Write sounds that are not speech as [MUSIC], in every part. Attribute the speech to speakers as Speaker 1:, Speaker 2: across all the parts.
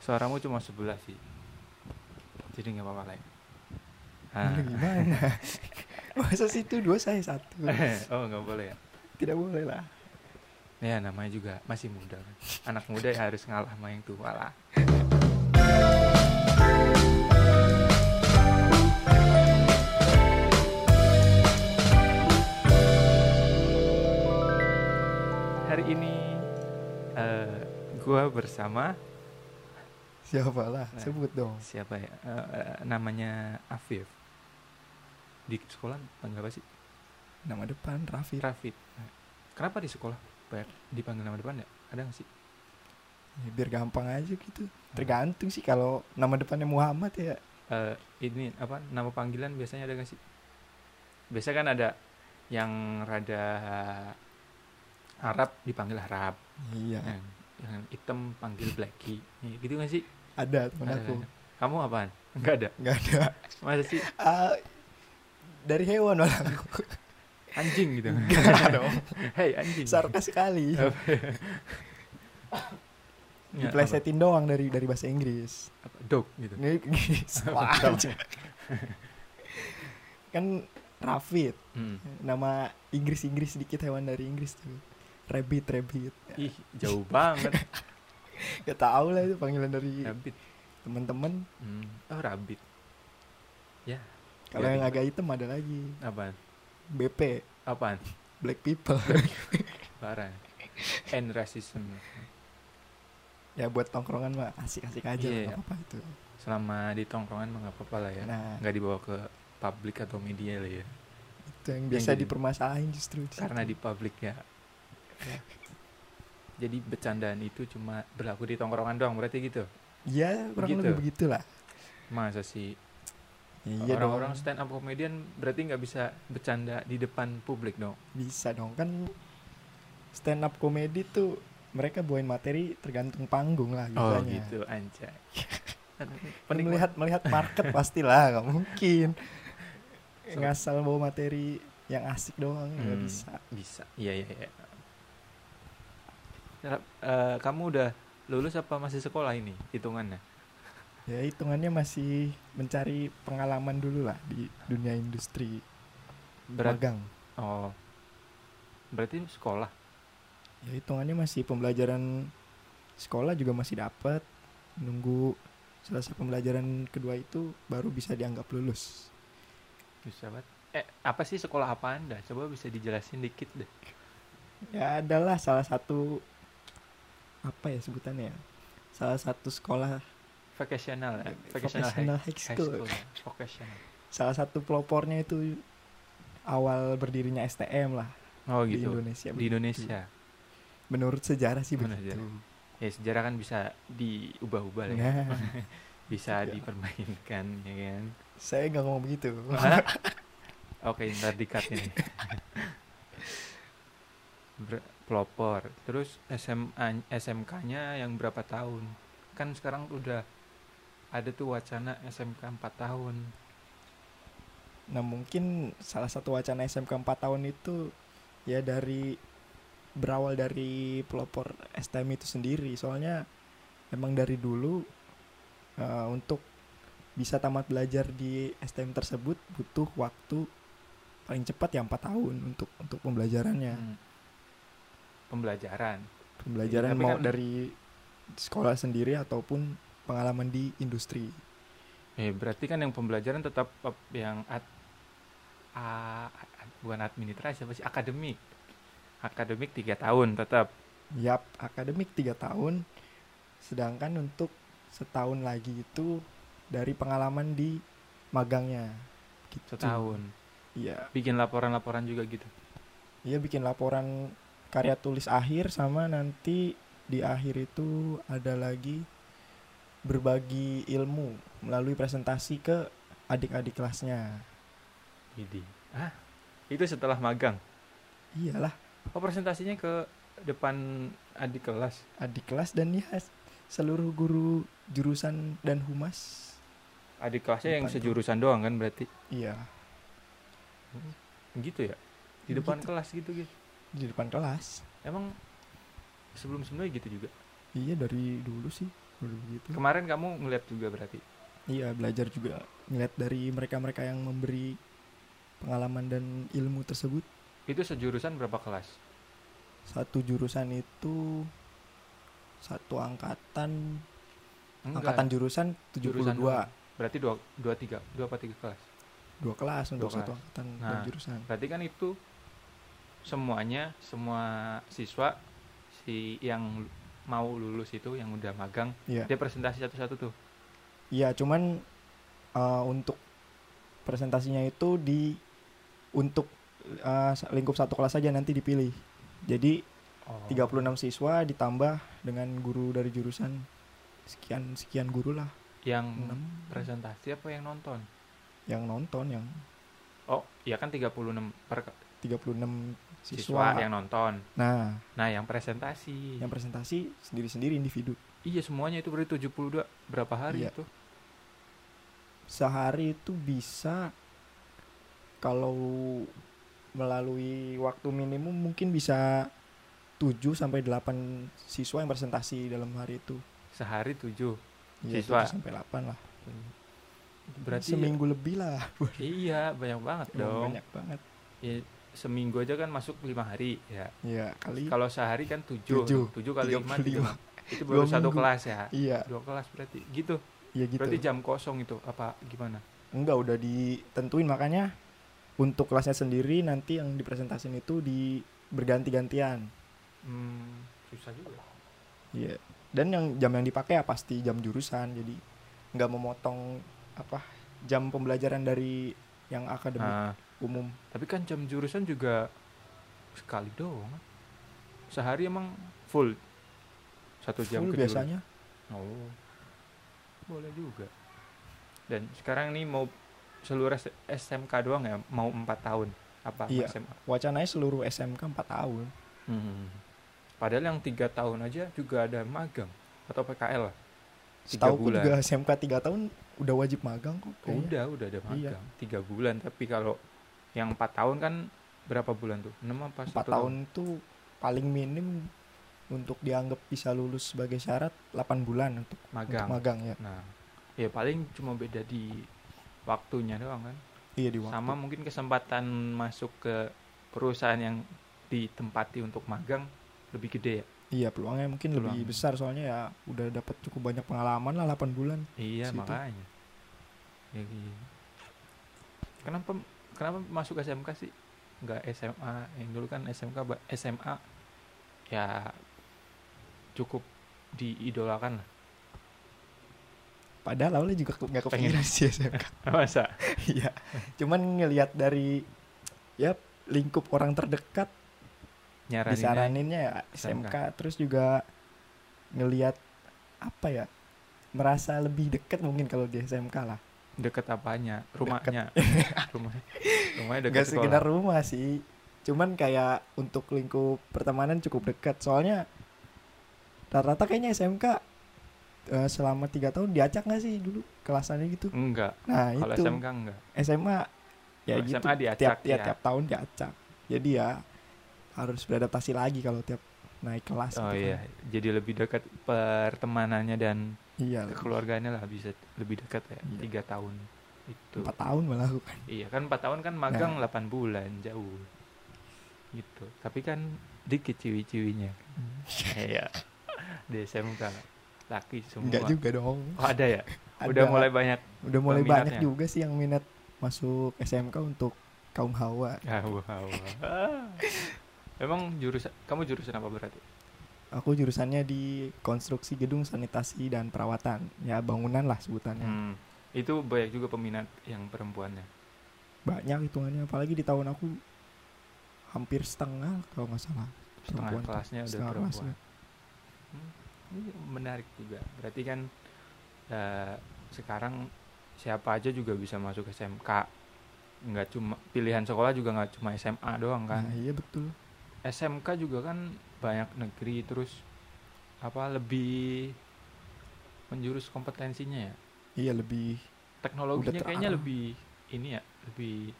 Speaker 1: suaramu cuma sebelah sih jadi nggak apa-apa lah Ah.
Speaker 2: Aduh, gimana [LAUGHS] masa situ dua saya
Speaker 1: [LAUGHS]
Speaker 2: satu
Speaker 1: oh nggak boleh ya
Speaker 2: tidak boleh lah
Speaker 1: ya namanya juga masih muda kan. anak muda ya harus ngalah sama yang tua lah hari ini eh, gua bersama
Speaker 2: siapa lah
Speaker 1: Nah.
Speaker 2: sebut dong
Speaker 1: siapa ya Eh, eh, namanya Afif di sekolah panggil apa sih
Speaker 2: nama depan Raffi
Speaker 1: Rafid Nah, kenapa di sekolah banyak dipanggil nama depan ya ada nggak sih
Speaker 2: Ya, biar gampang aja gitu tergantung sih kalau nama depannya Muhammad ya
Speaker 1: Eh, ini apa nama panggilan biasanya ada nggak sih biasa kan ada yang rada Arab dipanggil Arab
Speaker 2: iya
Speaker 1: yang, yang hitam panggil Blacky Ya, gitu nggak sih
Speaker 2: ada temen
Speaker 1: Ada,
Speaker 2: aku
Speaker 1: ada. kamu apaan nggak ada
Speaker 2: nggak ada
Speaker 1: masa sih
Speaker 2: Ah, dari
Speaker 1: [LAUGHS]
Speaker 2: hewan malah aku
Speaker 1: anjing gitu
Speaker 2: Enggak dong
Speaker 1: hei anjing
Speaker 2: sarkas sekali
Speaker 1: Iya, Ya, apa?
Speaker 2: diplesetin doang dari dari bahasa Inggris
Speaker 1: Apa? dog gitu
Speaker 2: Ini gini, [LAUGHS] wah,
Speaker 1: [LAUGHS]
Speaker 2: anjing. kan Rafid
Speaker 1: Mm.
Speaker 2: nama Inggris-Inggris sedikit hewan dari Inggris tuh rabbit rabbit
Speaker 1: ih jauh banget
Speaker 2: [LAUGHS] gak tau lah itu panggilan dari
Speaker 1: rabbit
Speaker 2: teman-teman
Speaker 1: Mm. oh rabbit ya
Speaker 2: kalau yang agak hitam ada lagi
Speaker 1: apaan
Speaker 2: BP
Speaker 1: apaan
Speaker 2: black
Speaker 1: [LAUGHS]
Speaker 2: people
Speaker 1: parah and racism
Speaker 2: ya buat tongkrongan mah asik-asik aja
Speaker 1: Iya.
Speaker 2: nggak apa-apa itu
Speaker 1: selama di tongkrongan mah nggak apa-apa lah ya
Speaker 2: nah
Speaker 1: nggak dibawa ke publik atau media lah ya
Speaker 2: itu yang biasa
Speaker 1: jadi-
Speaker 2: dipermasalahin justru di
Speaker 1: karena di
Speaker 2: situ.
Speaker 1: publik ya jadi bercandaan itu cuma berlaku di tongkrongan doang berarti gitu
Speaker 2: ya kurang lebih begitulah
Speaker 1: masa sih
Speaker 2: Ya, iya dong.
Speaker 1: orang-orang stand up comedian berarti nggak bisa bercanda di depan publik dong
Speaker 2: bisa dong kan stand up komedi tuh mereka bawain materi tergantung panggung lah
Speaker 1: oh
Speaker 2: biasanya.
Speaker 1: gitu anjay
Speaker 2: Kan
Speaker 1: penikmat
Speaker 2: melihat melihat market pastilah nggak mungkin
Speaker 1: So-
Speaker 2: ngasal bawa materi yang asik doang nggak
Speaker 1: Hmm.
Speaker 2: bisa
Speaker 1: bisa iya iya iya Rap, eh, kamu udah lulus apa masih sekolah ini hitungannya
Speaker 2: ya hitungannya masih mencari pengalaman dulu lah di dunia industri
Speaker 1: Berat-
Speaker 2: magang
Speaker 1: oh berarti sekolah
Speaker 2: ya hitungannya masih pembelajaran sekolah juga masih dapat nunggu selesai pembelajaran kedua itu baru bisa dianggap lulus
Speaker 1: Bisa banget. Eh, apa sih sekolah apa Anda? Coba bisa dijelasin dikit deh.
Speaker 2: ya adalah salah satu apa ya sebutannya ya salah satu sekolah
Speaker 1: Vocational ya?
Speaker 2: eh,
Speaker 1: Vocational
Speaker 2: vocational
Speaker 1: high,
Speaker 2: high
Speaker 1: high
Speaker 2: school
Speaker 1: school. ya. Vocational.
Speaker 2: salah satu pelopornya itu awal berdirinya STM lah
Speaker 1: Oh
Speaker 2: di
Speaker 1: gitu.
Speaker 2: Indonesia
Speaker 1: Di Indonesia.
Speaker 2: menurut sejarah sih
Speaker 1: Menurut
Speaker 2: begitu
Speaker 1: Ya sejarah kan bisa diubah-ubah lah ya.
Speaker 2: nah [LAUGHS]
Speaker 1: Bisa
Speaker 2: Iya.
Speaker 1: dipermainkan ya kan.
Speaker 2: saya nggak ngomong
Speaker 1: [LAUGHS]
Speaker 2: begitu
Speaker 1: Hah? Oke, ntar di-cut ini. Ber- pelopor. Terus SMA SMK-nya yang berapa tahun? Kan sekarang udah ada tuh wacana SMK 4 tahun.
Speaker 2: nah mungkin salah satu wacana SMK 4 tahun itu ya dari berawal dari pelopor STM itu sendiri soalnya emang dari dulu eh, untuk bisa tamat belajar di STM tersebut butuh waktu paling cepat ya 4 tahun untuk untuk pembelajarannya
Speaker 1: Hmm. Pembelajaran.
Speaker 2: pembelajaran
Speaker 1: Tapi
Speaker 2: mau
Speaker 1: kan-
Speaker 2: dari sekolah sendiri ataupun pengalaman di industri
Speaker 1: Eh, berarti kan yang pembelajaran tetap ap- yang ad, a- a- bukan administrasi apa sih akademik. Akademik tiga tahun tetap.
Speaker 2: Yap, akademik 3 tahun. Sedangkan untuk setahun lagi itu dari pengalaman di magangnya. Gitu.
Speaker 1: Setahun.
Speaker 2: Iya.
Speaker 1: Bikin laporan-laporan juga gitu.
Speaker 2: Iya bikin laporan karya tulis akhir sama nanti di akhir itu ada lagi berbagi ilmu melalui presentasi ke adik-adik kelasnya.
Speaker 1: Jadi, ah, itu setelah magang.
Speaker 2: Iyalah,
Speaker 1: Oh, presentasinya ke depan adik kelas.
Speaker 2: adik kelas dan ya seluruh guru jurusan dan humas.
Speaker 1: Adik kelasnya yang
Speaker 2: Depan
Speaker 1: sejurusan doang kan berarti.
Speaker 2: Iya,
Speaker 1: Gitu ya. Di depan
Speaker 2: Gitu.
Speaker 1: kelas gitu gitu.
Speaker 2: di depan kelas. Hmm.
Speaker 1: Emang sebelum sebelumnya gitu juga.
Speaker 2: Iya dari dulu sih Udah begitu.
Speaker 1: Kemarin kamu ngeliat juga berarti.
Speaker 2: Iya, belajar juga ngeliat dari mereka-mereka yang memberi pengalaman dan ilmu tersebut.
Speaker 1: Itu sejurusan berapa kelas?
Speaker 2: Satu jurusan itu satu angkatan, angkatan jurusan 72,
Speaker 1: Jurusan doang. Berarti dua, dua tiga, dua apa tiga kelas.
Speaker 2: dua kelas untuk
Speaker 1: Dua
Speaker 2: satu
Speaker 1: kelas.
Speaker 2: angkatan dan
Speaker 1: Nah.
Speaker 2: jurusan.
Speaker 1: Berarti kan itu semuanya, semua siswa si yang lu- mau lulus itu yang udah magang,
Speaker 2: Iya.
Speaker 1: dia presentasi satu-satu tuh.
Speaker 2: Iya, cuman eh, untuk presentasinya itu di untuk eh, lingkup satu kelas saja nanti dipilih. Jadi
Speaker 1: Oh.
Speaker 2: 36 siswa ditambah dengan guru dari jurusan sekian sekian guru lah,
Speaker 1: Yang
Speaker 2: 6
Speaker 1: presentasi apa yang nonton?
Speaker 2: yang nonton yang
Speaker 1: Oh, iya kan 36 per ke-
Speaker 2: 36
Speaker 1: siswa
Speaker 2: siswa.
Speaker 1: yang nonton.
Speaker 2: Nah,
Speaker 1: Nah, yang presentasi.
Speaker 2: yang presentasi sendiri-sendiri individu.
Speaker 1: Iya, semuanya itu berarti 72 berapa hari
Speaker 2: Iya.
Speaker 1: itu?
Speaker 2: Sehari itu bisa kalau melalui waktu minimum mungkin bisa 7 sampai 8 siswa yang presentasi dalam hari itu.
Speaker 1: Sehari 7.
Speaker 2: Ya,
Speaker 1: Siswa.
Speaker 2: 7 sampai 8 lah.
Speaker 1: Berarti
Speaker 2: seminggu lebih lah.
Speaker 1: iya, banyak banget dong.
Speaker 2: Banyak banget.
Speaker 1: Ya, seminggu aja kan masuk 5 hari ya.
Speaker 2: Iya, kali.
Speaker 1: Kalau sehari kan 7.
Speaker 2: Tujuh.
Speaker 1: 7 kali 5 itu,
Speaker 2: 35.
Speaker 1: itu baru
Speaker 2: Dua
Speaker 1: satu
Speaker 2: minggu.
Speaker 1: kelas ya.
Speaker 2: Iya,
Speaker 1: Dua kelas berarti. Gitu.
Speaker 2: iya gitu.
Speaker 1: Berarti jam kosong itu apa gimana?
Speaker 2: Enggak udah ditentuin makanya untuk kelasnya sendiri nanti yang dipresentasin itu di berganti-gantian.
Speaker 1: Hmm, susah juga.
Speaker 2: Iya. Dan yang jam yang dipakai ya pasti jam jurusan. Jadi nggak memotong apa jam pembelajaran dari yang akademik
Speaker 1: Nah,
Speaker 2: umum.
Speaker 1: tapi kan jam jurusan juga sekali doang. Sehari emang full. Satu jam
Speaker 2: Full
Speaker 1: ke jurusan.
Speaker 2: biasanya.
Speaker 1: Oh, boleh juga. Dan sekarang nih mau seluruh S- SMK doang ya, mau empat tahun apa
Speaker 2: Iya.
Speaker 1: SMA?
Speaker 2: Wacananya seluruh SMK 4 tahun.
Speaker 1: Hmm. Padahal yang tiga tahun aja juga ada magang atau PKL lah. Tiga
Speaker 2: Setahu
Speaker 1: bulan.
Speaker 2: juga [LAUGHS] SMK 3 tahun udah wajib magang kok. kayaknya.
Speaker 1: Udah, udah ada
Speaker 2: Iya.
Speaker 1: magang. Tiga bulan. Tapi kalau yang empat tahun kan berapa bulan tuh? Enam apa
Speaker 2: Empat
Speaker 1: satu
Speaker 2: tahun itu paling minim untuk dianggap bisa lulus sebagai syarat 8 bulan untuk,
Speaker 1: magang.
Speaker 2: untuk magang ya.
Speaker 1: Nah, ya paling cuma beda di waktunya doang kan.
Speaker 2: Iya di waktu.
Speaker 1: Sama mungkin kesempatan masuk ke perusahaan yang ditempati untuk magang lebih gede ya.
Speaker 2: Iya peluangnya mungkin
Speaker 1: Peluang.
Speaker 2: lebih besar soalnya ya udah dapat cukup banyak pengalaman lah 8 bulan.
Speaker 1: Iya
Speaker 2: Situ.
Speaker 1: makanya. Ya, gitu. Kenapa kenapa masuk SMK sih? Enggak SMA yang dulu kan SMK ba- SMA ya cukup diidolakan lah.
Speaker 2: Padahal awalnya juga ke- nggak kepikiran sih SMK.
Speaker 1: [LAUGHS] Masa?
Speaker 2: [LAUGHS] Iya. Cuman ngelihat dari ya lingkup orang terdekat
Speaker 1: Nyaraninnya
Speaker 2: disaraninnya ya SMK.
Speaker 1: SMK.
Speaker 2: terus juga ngelihat apa ya merasa lebih dekat mungkin kalau di SMK lah.
Speaker 1: deket apanya? [LAUGHS] Rumahnya. Rumah. Rumahnya deket
Speaker 2: Gak
Speaker 1: sekolah.
Speaker 2: sekedar rumah sih. Cuman kayak untuk lingkup pertemanan cukup dekat. Soalnya rata-rata kayaknya SMK eh, selama tiga tahun diacak nggak sih dulu kelasannya gitu.
Speaker 1: Enggak.
Speaker 2: Nah
Speaker 1: Kalau
Speaker 2: itu.
Speaker 1: SMK enggak.
Speaker 2: SMA ya
Speaker 1: Kalau
Speaker 2: gitu
Speaker 1: SMA diacak
Speaker 2: tiap, tiap,
Speaker 1: ya.
Speaker 2: tiap tahun diacak jadi ya harus beradaptasi lagi kalau tiap naik kelas
Speaker 1: Oh
Speaker 2: gitu kan.
Speaker 1: iya, jadi lebih dekat pertemanannya dan
Speaker 2: iya
Speaker 1: keluarganya lah bisa lebih dekat ya.
Speaker 2: Iya.
Speaker 1: Tiga tahun itu.
Speaker 2: empat tahun Nah. malah aku kan
Speaker 1: Iya kan 4 tahun kan magang 8 bulan jauh gitu tapi kan dikit ciwi-ciwinya
Speaker 2: Hmm.
Speaker 1: iya di SMK laki semua
Speaker 2: enggak juga dong
Speaker 1: oh ada ya
Speaker 2: Ada-
Speaker 1: udah mulai banyak
Speaker 2: udah mulai banyak
Speaker 1: peminatnya.
Speaker 2: juga sih yang minat masuk SMK untuk kaum hawa
Speaker 1: Ah, wah, wah. Ah. emang jurusan kamu jurusan apa berarti
Speaker 2: aku jurusannya di konstruksi gedung sanitasi dan perawatan ya bangunan lah sebutannya
Speaker 1: Hmm, itu banyak juga peminat yang perempuannya
Speaker 2: banyak hitungannya apalagi di tahun aku hampir setengah kalau nggak salah
Speaker 1: setengah
Speaker 2: Perempuan tuh,
Speaker 1: kelasnya udah
Speaker 2: setengah ya.
Speaker 1: perempuan
Speaker 2: kelasnya.
Speaker 1: Hmm, ini menarik juga berarti kan eh, sekarang siapa aja juga bisa masuk SMK nggak cuma pilihan sekolah juga nggak cuma SMA doang kan
Speaker 2: nah, iya betul
Speaker 1: SMK juga kan banyak negeri terus apa lebih menjurus kompetensinya ya
Speaker 2: iya lebih
Speaker 1: teknologinya
Speaker 2: terarah.
Speaker 1: kayaknya lebih ini ya lebih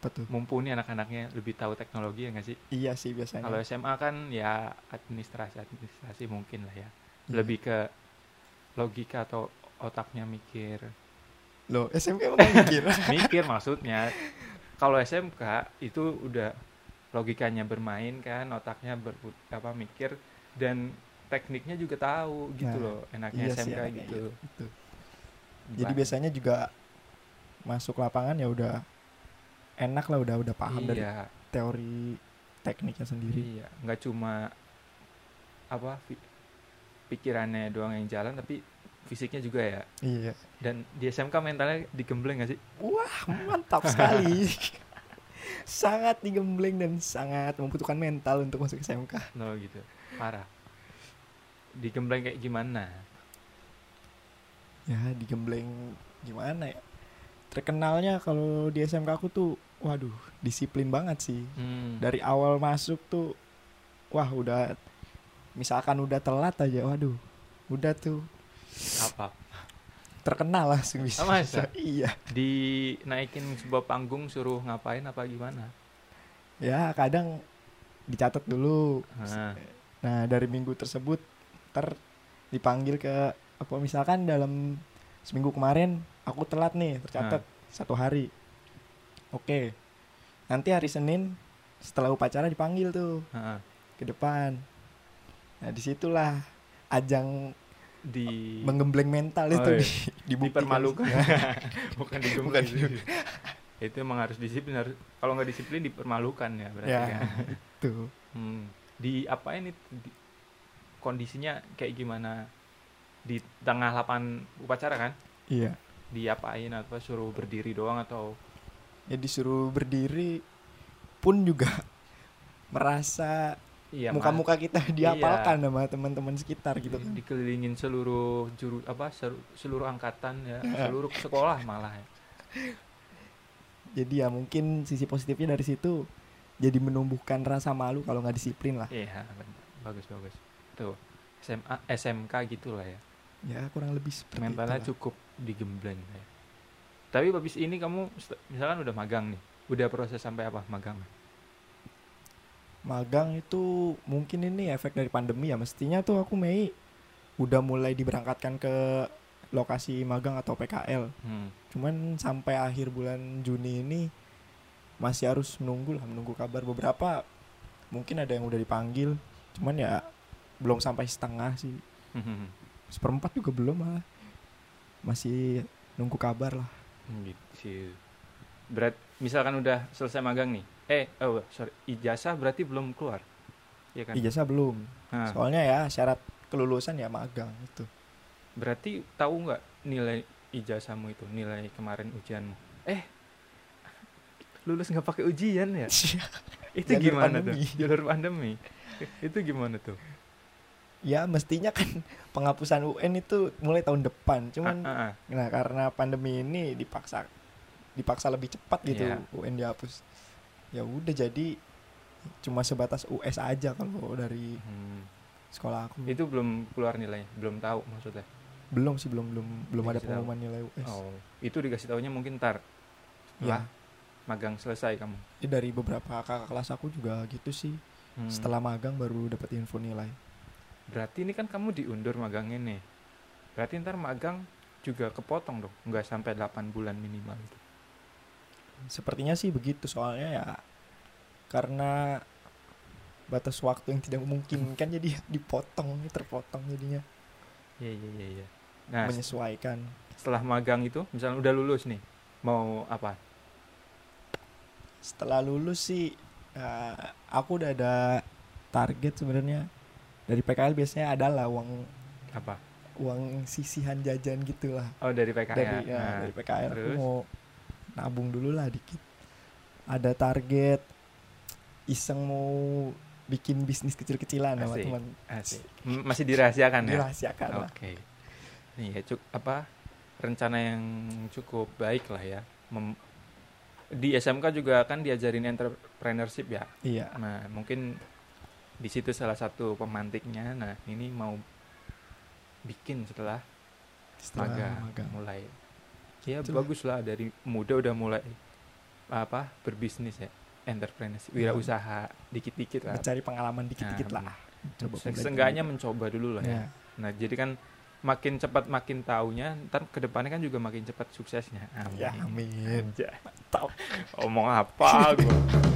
Speaker 2: apa tuh
Speaker 1: mumpuni anak-anaknya lebih tahu teknologi ya nggak sih
Speaker 2: iya sih biasanya
Speaker 1: kalau SMA kan ya administrasi administrasi mungkin lah ya
Speaker 2: Iya.
Speaker 1: lebih ke logika atau otaknya
Speaker 2: [LAUGHS]
Speaker 1: mikir
Speaker 2: Loh, SMK emang mikir.
Speaker 1: mikir maksudnya kalau SMK itu udah logikanya bermain kan otaknya berput apa mikir dan tekniknya juga tahu gitu
Speaker 2: Nah,
Speaker 1: loh enaknya
Speaker 2: iya sih,
Speaker 1: SMK
Speaker 2: enaknya
Speaker 1: gitu
Speaker 2: Gitu. Jadi
Speaker 1: Ba-
Speaker 2: biasanya juga masuk lapangan ya udah enak lah udah udah paham dari
Speaker 1: iya
Speaker 2: teori tekniknya sendiri.
Speaker 1: iya nggak cuma apa fi- pikirannya doang yang jalan tapi fisiknya juga ya
Speaker 2: Iya.
Speaker 1: dan di SMK mentalnya digembleng
Speaker 2: [LAUGHS]
Speaker 1: gak sih
Speaker 2: Wah, mantap sekali. sangat digembleng dan sangat membutuhkan mental untuk masuk SMK.
Speaker 1: no gitu parah digembleng kayak gimana
Speaker 2: Ya, digembleng gimana ya? Terkenalnya kalau di SMK aku tuh waduh, disiplin banget sih.
Speaker 1: hmm.
Speaker 2: dari awal masuk tuh wah udah misalkan udah telat aja waduh udah tuh
Speaker 1: apa
Speaker 2: terkenal langsung bisa,
Speaker 1: Ah, masa?
Speaker 2: [LAUGHS] iya
Speaker 1: dinaikin sebuah panggung suruh ngapain apa gimana
Speaker 2: ya kadang dicatat dulu
Speaker 1: Nah,
Speaker 2: nah dari minggu tersebut ter dipanggil ke apa misalkan dalam seminggu kemarin aku telat nih tercatat
Speaker 1: Ah.
Speaker 2: satu hari oke nanti hari Senin setelah upacara dipanggil tuh
Speaker 1: heeh.
Speaker 2: ke depan nah disitulah ajang
Speaker 1: di
Speaker 2: menggembleng mental
Speaker 1: Oh,
Speaker 2: itu
Speaker 1: iya.
Speaker 2: di, dibuktikan. Ya,
Speaker 1: dipermalukan [LAUGHS] bukan
Speaker 2: [LAUGHS] Bukan
Speaker 1: digembleng
Speaker 2: di-
Speaker 1: itu emang harus disiplin harus kalau nggak disiplin dipermalukan ya berarti
Speaker 2: ya
Speaker 1: kan
Speaker 2: itu
Speaker 1: hmm. di apain itu Di- kondisinya kayak gimana di tengah lapangan upacara kan
Speaker 2: iya
Speaker 1: diapain apa suruh berdiri doang atau
Speaker 2: ya disuruh berdiri pun juga
Speaker 1: iya
Speaker 2: merasa
Speaker 1: Mas. Iya.
Speaker 2: muka-muka kita diapalkan sama teman-teman sekitar gitu kan
Speaker 1: dikelilingin seluruh juru apa seru- seluruh angkatan ya seluruh sekolah malah ya.
Speaker 2: jadi ya mungkin sisi positifnya dari situ jadi menumbuhkan rasa malu kalau nggak disiplin lah
Speaker 1: iya benar. bagus bagus tuh SMA SMK gitulah ya
Speaker 2: ya kurang lebih seperti
Speaker 1: mentalnya
Speaker 2: itu
Speaker 1: cukup digembleng ya. tapi habis ini kamu st- misalkan udah magang nih udah proses sampai apa magang
Speaker 2: magang itu mungkin ini efek dari pandemi ya mestinya tuh aku Mei udah mulai diberangkatkan ke lokasi magang atau PKL
Speaker 1: hmm.
Speaker 2: cuman sampai akhir bulan Juni ini masih harus menunggu lah menunggu kabar beberapa mungkin ada yang udah dipanggil cuman ya belum sampai setengah sih
Speaker 1: Hmm,
Speaker 2: seperempat juga belum lah masih nunggu kabar lah
Speaker 1: gitu sih berat misalkan udah selesai magang nih eh oh sorry ijazah berarti belum keluar Iya kan
Speaker 2: ijazah belum
Speaker 1: Nah,
Speaker 2: soalnya ya syarat kelulusan ya magang itu
Speaker 1: berarti tahu nggak nilai ijazahmu itu nilai kemarin ujianmu eh lulus nggak pakai ujian ya itu
Speaker 2: Jalur
Speaker 1: gimana
Speaker 2: pandemi.
Speaker 1: tuh jalur pandemi itu gimana tuh
Speaker 2: [LAUGHS] ya mestinya kan penghapusan UN itu mulai tahun depan cuman
Speaker 1: Ah, ah, ah.
Speaker 2: Nah, karena pandemi ini dipaksa dipaksa lebih cepat gitu
Speaker 1: Iya.
Speaker 2: UN dihapus. Ya udah jadi cuma sebatas US aja kalau dari
Speaker 1: Hmm.
Speaker 2: sekolah aku.
Speaker 1: itu belum keluar nilainya belum tahu maksudnya
Speaker 2: Belum sih belum belum belum
Speaker 1: Dikasih
Speaker 2: ada
Speaker 1: tahu.
Speaker 2: pengumuman nilai US.
Speaker 1: oh itu dikasih taunya mungkin ntar lah
Speaker 2: Ya.
Speaker 1: magang selesai kamu
Speaker 2: Ya, dari beberapa kakak kelas aku juga gitu sih.
Speaker 1: Hmm.
Speaker 2: Setelah magang baru dapat info nilai.
Speaker 1: berarti ini kan kamu diundur magangnya nih berarti ntar magang juga kepotong dong nggak sampai 8 bulan minimal itu
Speaker 2: Sepertinya sih begitu soalnya ya karena batas waktu yang tidak memungkinkan jadi dipotong terpotong jadinya
Speaker 1: iya iya iya iya. nah
Speaker 2: menyesuaikan
Speaker 1: setelah magang itu misalnya udah lulus nih mau apa
Speaker 2: setelah lulus sih eh, aku udah ada target sebenarnya dari PKL biasanya adalah uang
Speaker 1: apa
Speaker 2: uang sisihan jajan gitulah
Speaker 1: oh dari PKL
Speaker 2: dari ya,
Speaker 1: Nah,
Speaker 2: dari PKL aku
Speaker 1: terus?
Speaker 2: mau nabung dulu lah dikit ada target iseng mau bikin bisnis kecil-kecilan sama
Speaker 1: Asik.
Speaker 2: teman
Speaker 1: asik. ah, M- masih dirahasiakan ya
Speaker 2: dirahasiakan
Speaker 1: oke
Speaker 2: lah
Speaker 1: Nih, ya, cuk- apa rencana yang cukup baik lah ya Mem- di SMK juga kan diajarin entrepreneurship ya
Speaker 2: iya
Speaker 1: nah mungkin di situ salah satu pemantiknya nah ini mau bikin setelah
Speaker 2: setelah
Speaker 1: magang,
Speaker 2: magang.
Speaker 1: mulai ya
Speaker 2: Itulah.
Speaker 1: bagus lah dari muda udah mulai apa berbisnis ya entrepreneurship wirausaha dikit-dikit lah
Speaker 2: mencari pengalaman dikit-dikit
Speaker 1: Nah,
Speaker 2: lah coba
Speaker 1: Se- seenggaknya mencoba dulu lah ya
Speaker 2: ya.
Speaker 1: nah jadi kan makin cepat makin taunya ntar kedepannya kan juga makin cepat suksesnya amin
Speaker 2: ya amin
Speaker 1: Anjay. omong apa gue